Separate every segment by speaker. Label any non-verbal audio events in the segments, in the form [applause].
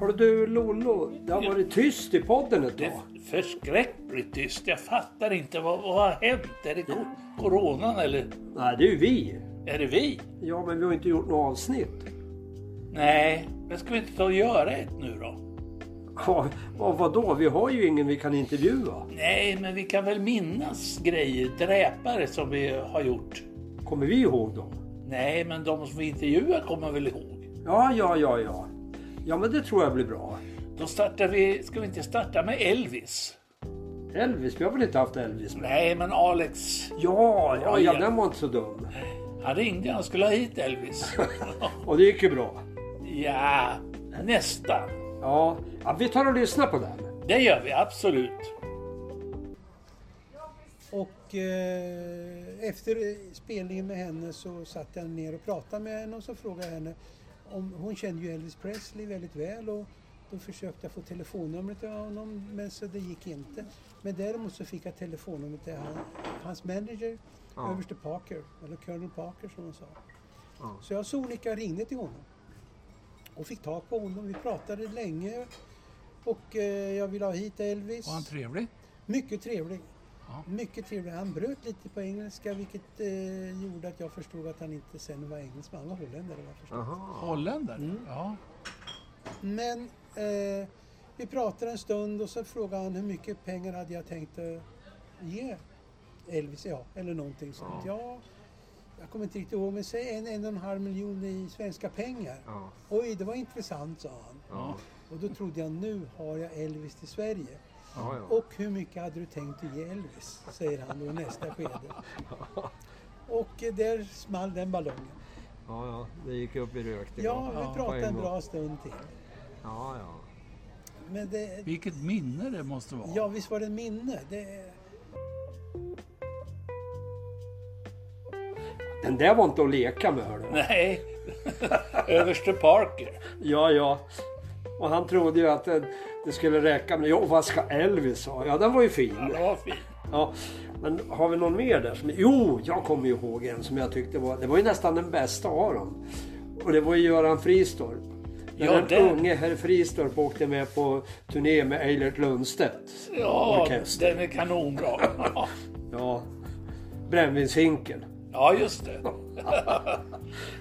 Speaker 1: Hörru du Lollo, det har varit tyst i podden ett
Speaker 2: Det
Speaker 1: tag.
Speaker 2: är förskräckligt tyst. Jag fattar inte vad, vad har hänt. Är det ko- coronan eller
Speaker 1: Nej, det är ju vi.
Speaker 2: är det vi?
Speaker 1: Ja, men vi har inte gjort något avsnitt.
Speaker 2: Nej, men ska vi inte ta och göra ett nu då?
Speaker 1: Ja, och vadå? Vi har ju ingen vi kan intervjua.
Speaker 2: Nej, men vi kan väl minnas grejer, dräpare som vi har gjort.
Speaker 1: Kommer vi ihåg dem?
Speaker 2: Nej, men de som vi intervjuar kommer väl ihåg.
Speaker 1: Ja, ja, ja, ja. Ja, men det tror jag blir bra.
Speaker 2: Då startar vi, ska vi inte starta med Elvis?
Speaker 1: Elvis, vi har väl inte haft Elvis med?
Speaker 2: Nej, men Alex.
Speaker 1: Ja, ja, ja,
Speaker 2: Oj.
Speaker 1: den var inte så dum.
Speaker 2: Han ringde, han skulle ha hit Elvis.
Speaker 1: Och det gick ju bra.
Speaker 2: ja, nästan.
Speaker 1: Ja, ja vi tar och lyssnar på den.
Speaker 2: Det gör vi absolut.
Speaker 3: Och eh, efter spelningen med henne så satt jag ner och pratade med henne och så frågade jag henne om, hon kände ju Elvis Presley väldigt väl och då försökte jag få telefonnumret av honom men så det gick inte. Men däremot så fick jag telefonnumret till han, hans manager, överste Parker, eller Colonel Parker som hon sa. Så jag och Sonika ringde till honom och fick tag på honom. Vi pratade länge och eh, jag ville ha hit Elvis.
Speaker 2: trevlig?
Speaker 3: Mycket trevlig.
Speaker 2: Ja.
Speaker 3: Mycket trevlig. Han bröt lite på engelska vilket eh, gjorde att jag förstod att han inte sen var engelsman. Han var holländare vad jag förstod. Mm.
Speaker 2: Holländare? Ja.
Speaker 3: Men eh, vi pratade en stund och så frågade han hur mycket pengar hade jag tänkt att ge Elvis, ja, eller någonting sånt. Ja, jag kommer inte riktigt ihåg, men säg en, en och en halv miljon i svenska pengar.
Speaker 4: Ja.
Speaker 3: Oj, det var intressant, sa han.
Speaker 4: Ja.
Speaker 3: Och då trodde jag, nu har jag Elvis till Sverige.
Speaker 4: Ja, ja.
Speaker 3: Och hur mycket hade du tänkt att ge Elvis? Säger han då i
Speaker 4: [laughs]
Speaker 3: nästa skede. Och eh, där small den ballongen.
Speaker 4: ja, ja. Det gick upp i rök. det
Speaker 3: Ja,
Speaker 4: var-
Speaker 3: vi
Speaker 4: på
Speaker 3: pratade en
Speaker 4: gång.
Speaker 3: bra stund till.
Speaker 4: Ja, ja.
Speaker 3: Men det,
Speaker 2: Vilket minne det måste vara.
Speaker 3: ja, visst var det en minne. Det,
Speaker 1: Den där var inte att leka med hörru.
Speaker 2: Nej, [laughs] överste Parker.
Speaker 1: Ja, ja. Och han trodde ju att det, det skulle räcka med... Jo, vad ska Elvis ha? Ja, den var ju fin.
Speaker 2: Det var fint.
Speaker 1: Ja, men har vi någon mer där? Som... Jo, jag kommer ju ihåg en som jag tyckte var... Det var ju nästan den bästa av dem. Och det var ju Göran Fristorp. När
Speaker 2: Ja,
Speaker 1: den
Speaker 2: den.
Speaker 1: unge herr Fristorp åkte med på turné med Eilert Lundstedt.
Speaker 2: Ja,
Speaker 1: Orkester.
Speaker 2: den är kanonbra. [laughs]
Speaker 1: Ja, Brännvinshinken.
Speaker 2: Ja, just det.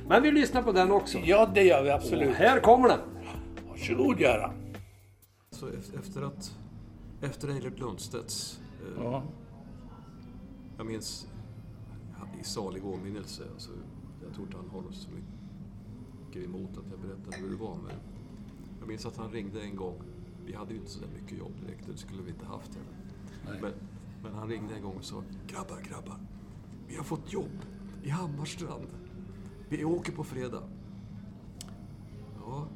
Speaker 1: Men vi lyssnar på den också.
Speaker 2: Ja, det gör vi
Speaker 1: Och
Speaker 2: absolut.
Speaker 1: här kommer den.
Speaker 2: Varsågod Göran.
Speaker 5: Så ef- efter att... Efter Eilert Lundstedts... Eh,
Speaker 2: Ja.
Speaker 5: jag minns ja, i salig åminnelse. Alltså, jag tror inte han håller så mycket emot att jag berättar hur det var. Men jag minns att han ringde en gång. Vi hade ju inte så där mycket jobb direkt. Det skulle vi inte haft heller. Men, men han ringde en gång och sa Grabbar, grabbar. Vi har fått jobb i Hammarstrand. Vi åker på fredag. Ja,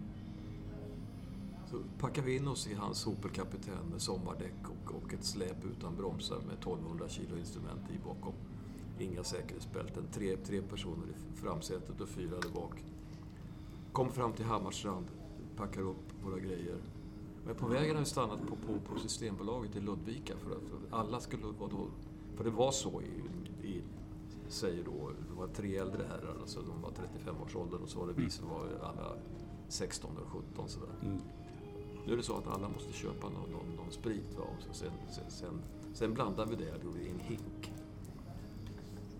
Speaker 5: så packade vi in oss i hans Opel-kapten med sommardäck och, och ett släp utan bromsar med 1200 kilo instrument i bakom. Inga säkerhetsbälten. Tre, tre personer i framsätet och fyra där bak. Kom fram till Hammarstrand, packar upp våra grejer. Men på vägen har vi stannat på, på, på Systembolaget i Ludvika för att alla skulle vara då... För det var så i, i säger då, det var tre äldre herrar, alltså de var 35-årsåldern och så var det vi som var alla 16 och 17 sådär. Nu är det så att alla måste köpa någon, någon, någon sprit. Va? Och så sen, sen, sen, sen blandar vi det då i en hink.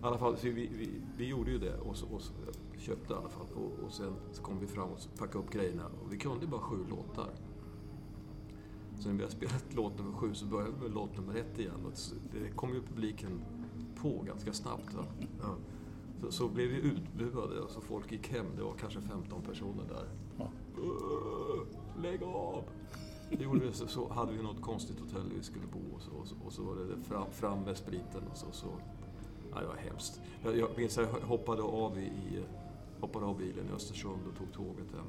Speaker 5: I alla fall, så vi, vi, vi gjorde ju det och, så, och så, köpte i alla fall. Och, och sen så kom vi fram och så packade upp grejerna. Och vi kunde bara sju låtar. Så när vi hade spelat [laughs] låt nummer sju så började vi med låt nummer ett igen. Och så- det kom ju publiken på ganska snabbt. Va? Ja. Så, så blev vi utbuade och så folk gick hem. Det var kanske 15 personer där. "Åh, Äh, Lägg av! Det gjorde vi, så, så hade vi något konstigt hotell vi skulle bo och så, och så, och så var det fram, fram med spriten och så. så. Ja, det var hemskt. Jag, jag minns att jag hoppade av, i, i, hoppade av bilen i Östersund och tog tåget hem.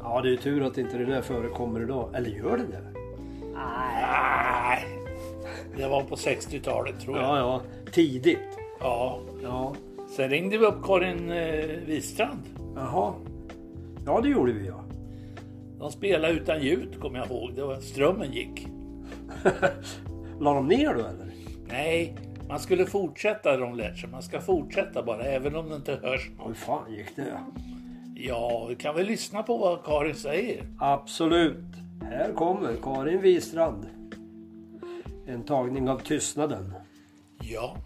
Speaker 1: Ja, det är ju tur att inte det där förekommer idag. Eller gör det det?
Speaker 2: Nej, det var på 60-talet tror jag.
Speaker 1: Ja, ja. Tidigt.
Speaker 2: Ja.
Speaker 1: Ja.
Speaker 2: Sen ringde vi upp Karin eh, Wistrand.
Speaker 1: Jaha. Ja, det gjorde vi ja.
Speaker 2: De spelade utan ljud kommer jag ihåg. Det var, strömmen gick.
Speaker 1: La de ner då eller?
Speaker 2: Nej, Man skulle fortsätta de lärt sig. Man ska fortsätta bara, även om det inte hörs.
Speaker 1: Hur fan gick det?
Speaker 2: Ja, vi kan väl lyssna på vad Karin säger.
Speaker 1: Absolut. Här kommer Karin Wistrand. En tagning av tystnaden.
Speaker 2: Ja,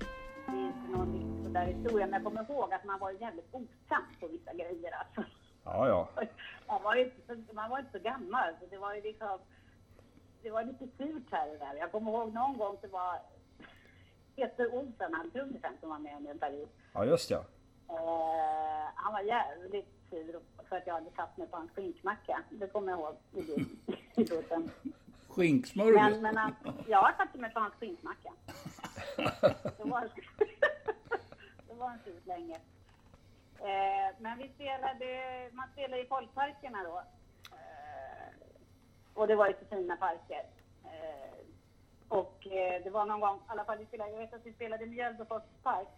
Speaker 6: Det är inte någon nytt sådär historia, men jag kommer ihåg att man var jävligt osams på vissa grejer. Alltså.
Speaker 7: Ja, ja.
Speaker 6: Man, var ju inte så, man var inte så gammal, så det var ju liksom... Det var lite surt här och där. Jag kommer ihåg någon gång det var Peter Olsson, han trummisen som var med under en period.
Speaker 7: Ja, just ja.
Speaker 6: Eh, han var jävligt sur för att jag hade satt mig på en skinkmacka. Det kommer
Speaker 7: [laughs]
Speaker 6: jag ihåg i det- i bussen. Men,
Speaker 8: Skinksmörgås.
Speaker 6: men han, jag satte mig på hans skinkmacka. Det var, [laughs] det var en tid länge. Eh, men vi spelade, man spelade i folkparkerna då. Eh, och det var ju så fina parker. Eh, och eh, det var någon gång, i alla fall vi spelade, jag vet att vi spelade i Mjölbyfors park.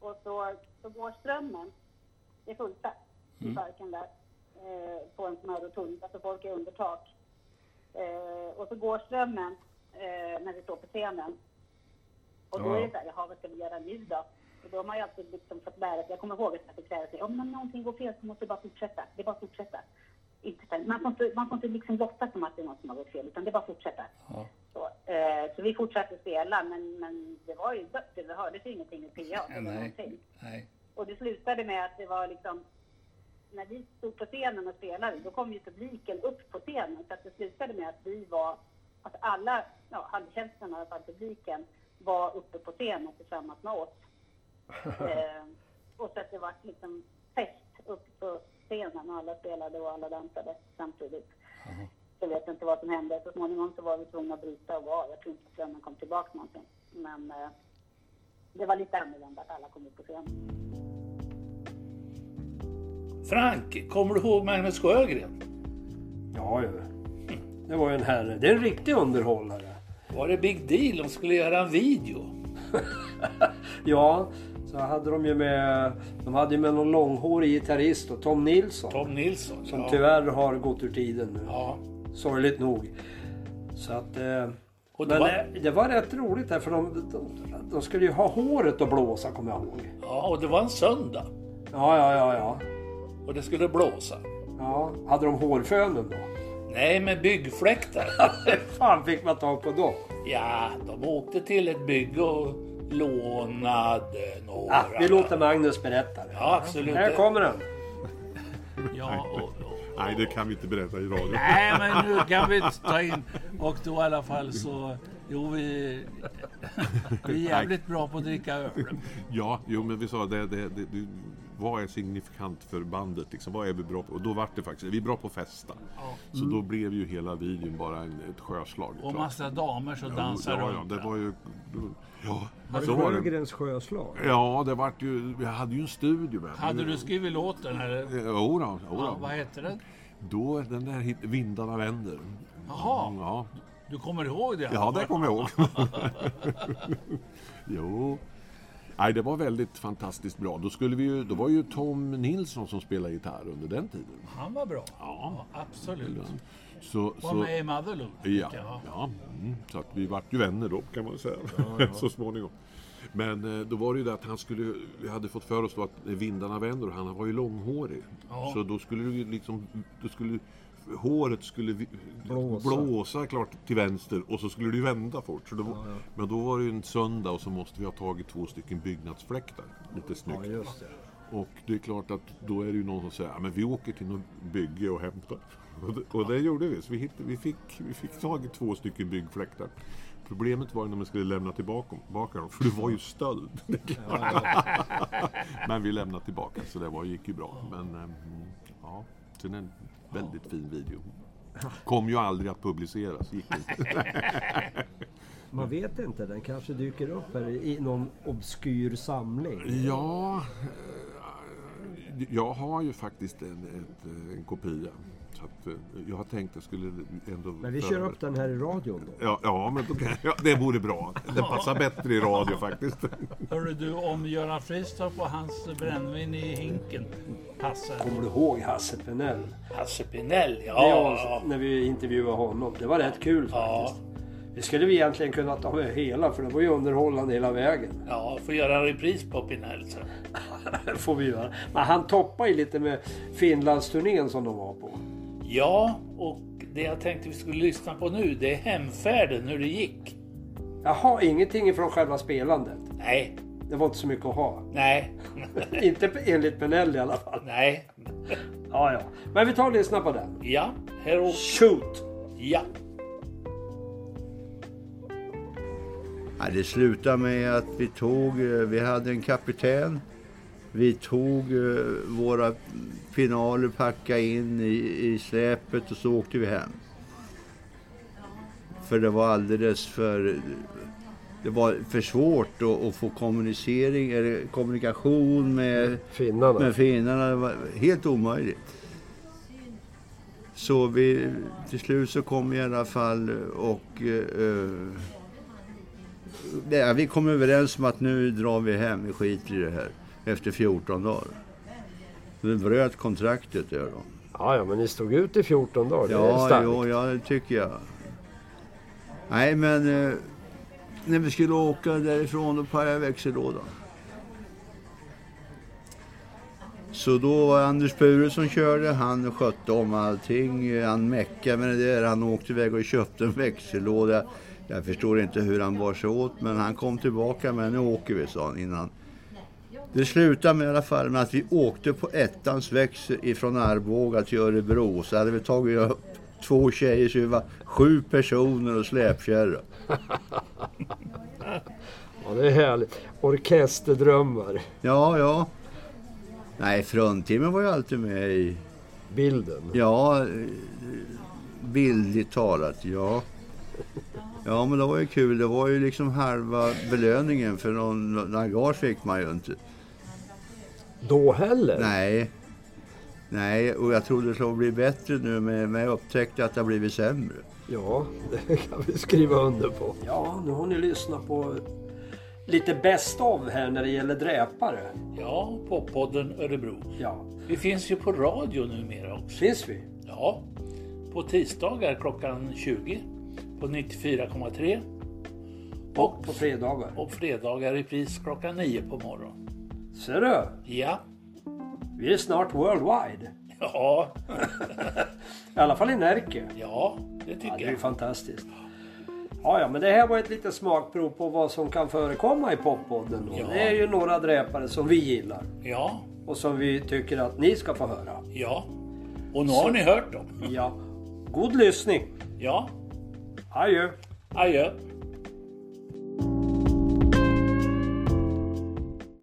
Speaker 6: Och så, så går strömmen. Det är fullsatt i parken där. Eh, på en sån här rotund, alltså folk är under tak. Eh, och så går strömmen eh, när vi står på scenen. Och då är det så här, jaha vad ska vi göra nu då? Och då har man ju alltid liksom fått lära sig, jag kommer ihåg att jag fick lära sig, om någonting går fel så måste vi bara fortsätta, det är bara att fortsätta. Inte, så här, man, får inte, man får inte liksom låtsas som att det är något som har gått fel, utan det är bara att fortsätta. Så, eh, så vi fortsatte spela, men, men det var ju dött, det hördes ju ingenting i PA. eller någonting.
Speaker 8: Nej. Nej.
Speaker 6: Och det slutade med att det var liksom, när vi stod på scenen och spelade, då kom ju publiken upp på scenen. Så att det slutade med att vi var, att alla, ja, hälften av all publiken var uppe på scenen tillsammans med oss. eh, och så att det var liksom fest uppe på scenen och alla spelade och alla dansade samtidigt. Jag vet inte vad som hände. Så småningom så var vi tvungna att bryta och gå av. Jag tror inte strömmen kom tillbaka någonsin. Men eh, det var lite annorlunda att alla kom upp på scenen.
Speaker 2: Frank, kommer du ihåg Magnus Sjögren?
Speaker 1: Ja, ju. Det var ju en herre. Det är en riktig underhållare. [laughs]
Speaker 2: Var det big deal de skulle göra en video?
Speaker 1: Ja, så hade de ju med... De hade ju med någon långhårig gitarrist och Tom Nilsson.
Speaker 2: Tom Nilsson.
Speaker 1: Som
Speaker 2: ja.
Speaker 1: tyvärr har gått ur tiden nu.
Speaker 2: Ja.
Speaker 1: Sorgligt nog. Så att... Eh,
Speaker 2: Och det
Speaker 1: men
Speaker 2: var-
Speaker 1: eh, det var rätt roligt där för de, de, de skulle ju ha håret att blåsa kommer jag ihåg.
Speaker 2: ja, och det var en söndag.
Speaker 1: Ja, ja, ja, ja.
Speaker 2: Och det skulle blåsa.
Speaker 1: ja. Hade de hårfönen då? [laughs]
Speaker 2: Nej, med byggfläktar.
Speaker 1: fan fick man tag på då?
Speaker 2: ja, de åkte till ett bygge och lånade några.
Speaker 1: Ah, vi låter Magnus berätta det.
Speaker 2: Ja, absolut.
Speaker 1: Här kommer den.
Speaker 8: Ja, och, och,
Speaker 9: Nej, det kan vi inte berätta i radio.
Speaker 8: Nej, men nu kan vi inte ta in... Och då i alla fall så... Jo, vi, vi är jävligt bra på att dricka öl.
Speaker 9: Ja, jo, men vi sa det, det, det, det vad är signifikant för bandet? Liksom, vad är vi bra på? Och då var det faktiskt, vi är bra på att festa. Så då blev ju hela videon bara en, ett sjöslag.
Speaker 8: Mm. Och
Speaker 9: klart.
Speaker 8: massa damer som dansar
Speaker 9: ja, ja,
Speaker 8: runt.
Speaker 9: det var ju... Ja,
Speaker 4: Var
Speaker 9: så
Speaker 4: det
Speaker 9: var det.
Speaker 4: Sjögrens sjöslag?
Speaker 9: Ja, det vart ju... Vi hade ju en studio med.
Speaker 8: Hade du skrivit låten eller?
Speaker 9: Jodå,
Speaker 8: Ja,
Speaker 9: jodå.
Speaker 8: vad hette den?
Speaker 9: Då, den där hit, Vindarna vänder.
Speaker 8: Jaha,
Speaker 9: Ja,
Speaker 8: du kommer ihåg det?
Speaker 9: Ja, det kommer jag ihåg. [laughs] jo. Nej, det var väldigt fantastiskt bra. Då, skulle vi ju, då var ju Tom Nilsson som spelade gitarr under den tiden.
Speaker 8: Han var bra. Ja, absolut.
Speaker 9: Så,
Speaker 8: Var
Speaker 9: så,
Speaker 8: med i Motherloo.
Speaker 9: ja,
Speaker 8: Ja.
Speaker 9: ja, mm, så att vi vart ju vänner då kan man säga, [laughs] så småningom. Men eh, då var det ju det att han skulle, vi hade fått för oss då att vindarna vänder och han var ju långhårig.
Speaker 8: Ja.
Speaker 9: Så då skulle du liksom, då skulle, håret skulle vi-
Speaker 4: Blåsa.
Speaker 9: blåsa klart till vänster och så skulle det ju vända fort. Så då, Men då var det ju en söndag och så måste vi ha tagit två stycken byggnadsfläktar. Lite snyggt.
Speaker 4: Ja, just det.
Speaker 9: Och det är klart att då är det ju någon som säger "Ja, men vi åker till något bygge och hämtar. Och det, och det gjorde vi. Så vi, hittade, vi, fick, vi fick tag i två stycken byggfläktar. Problemet var ju när man skulle lämna tillbaka tillbaka dem, för det var ju stöld. [laughs] Det är klart. men vi lämnade tillbaka, så det var, gick ju bra. Men ehm, ja, sen en väldigt fin video. Kom ju aldrig att publiceras, gick inte.
Speaker 4: Man vet inte, den kanske dyker upp här i någon obskyr samling.
Speaker 9: Ja, eh, jag har ju faktiskt en, ett, eh, en kopia. Så att, eh, jag har tänkt att jag skulle ändå...
Speaker 4: Men vi
Speaker 9: föra
Speaker 4: kör
Speaker 9: över.
Speaker 4: upp den här i radion då.
Speaker 9: Ja, ja, men då kan, ja, det vore bra. Det passar bättre i radio faktiskt.
Speaker 8: Hörru du, om Göran Fristorp och hans brännvin i hinken passar.
Speaker 1: Kommer du ihåg Hasse Penell?
Speaker 2: Hasse Pinell, ja.
Speaker 1: Det avsnitt när vi intervjuade honom. Det var rätt kul
Speaker 2: Ja.
Speaker 1: faktiskt. Det skulle vi egentligen kunna ta med hela för det var ju underhållande hela vägen.
Speaker 2: [laughs] Ja, får göra en repris på Pinell sen.
Speaker 1: Det får vi göra. Men han toppar ju lite med Finlandsturnén som de var på.
Speaker 2: Ja, och det jag tänkte vi skulle lyssna på nu det är hemfärden, hur det gick.
Speaker 1: Jaha, ingenting ifrån själva spelandet.
Speaker 2: Nej,
Speaker 1: Det var inte så mycket att ha.
Speaker 2: nej, [laughs]
Speaker 1: inte enligt Penell i alla fall.
Speaker 2: nej.
Speaker 1: Ja, ja. Men vi tar och lyssnar på den.
Speaker 2: Ja, här och
Speaker 1: Shoot!
Speaker 2: ja.
Speaker 7: Ja, det slutade med att vi tog, eh, vi hade en kapten. Vi tog eh, våra finaler, packade in i, i släpet och så åkte vi hem. För det var alldeles för, det var för svårt att, att få kommunicering, eller kommunikation med,
Speaker 4: Finnarna.
Speaker 7: med finnarna. Det var helt omöjligt. Så vi, till slut så kom vi i alla fall och eh, Ja, vi kom överens om att nu drar vi hem, vi skiter i det här. Efter 14 dagar. Så Vi bröt kontraktet där då.
Speaker 4: Ja, ja, men ni stod ut i 14 dagar. det är
Speaker 7: Ja,
Speaker 4: starkt.
Speaker 7: jo, ja, det tycker jag. Nej, men eh, när vi skulle åka därifrån då pajade växellådan. Så då var Anders Bure som körde, han skötte om allting, eh, han meckade med det där, han åkte iväg och köpte en växellåda. Jag förstår inte hur han bar sig åt, men han kom tillbaka, men nu åker vi, sa han innan. Det slutade med i alla fall med att vi åkte på ettans växel ifrån Arboga till Örebro. Så hade vi tagit upp två tjejer så vi var sju personer och släpkärra.
Speaker 4: Ja, det är härligt. Orkesterdrömmar.
Speaker 7: Ja, ja. Nej, fruntimmer var ju alltid med i...
Speaker 4: Bilden.
Speaker 7: Ja, eh, bildligt talat, ja. Ja, men det var ju kul. Det var ju liksom halva belöningen för någon, någon gage fick man ju inte.
Speaker 4: Då heller?
Speaker 7: Nej. Nej, och jag trodde det skulle bli bättre nu men men jag upptäckte att det har blivit sämre.
Speaker 4: Ja, [laughs] det kan vi skriva under på.
Speaker 1: Ja, nu har ni lyssnat på lite bäst av här när det gäller dräpare.
Speaker 2: Ja, poppodden Örebro.
Speaker 1: Ja,
Speaker 2: Vi finns ju på radio numera också.
Speaker 1: finns vi?
Speaker 2: Ja, på tisdagar klockan 20 på 94,3. Och
Speaker 1: På fredagar.
Speaker 2: och fredagar repris klockan 9 på morgonen.
Speaker 1: Ser du?
Speaker 2: Ja,
Speaker 1: Vi är snart worldwide.
Speaker 2: ja,
Speaker 1: I alla fall i Närke.
Speaker 2: ja, det
Speaker 1: Ja,
Speaker 2: tycker
Speaker 1: det är ju
Speaker 2: jag.
Speaker 1: fantastiskt. Ja, ja, men det här var ett litet smakprov på vad som kan förekomma i poppodden. då.
Speaker 2: Ja.
Speaker 1: Det är ju några dräpare som vi gillar
Speaker 2: Ja,
Speaker 1: och som vi tycker att ni ska få höra.
Speaker 2: ja. Och nu har ni hört dem.
Speaker 1: Ja, god lyssning.
Speaker 2: Ja,
Speaker 1: Adjö!
Speaker 2: adjö.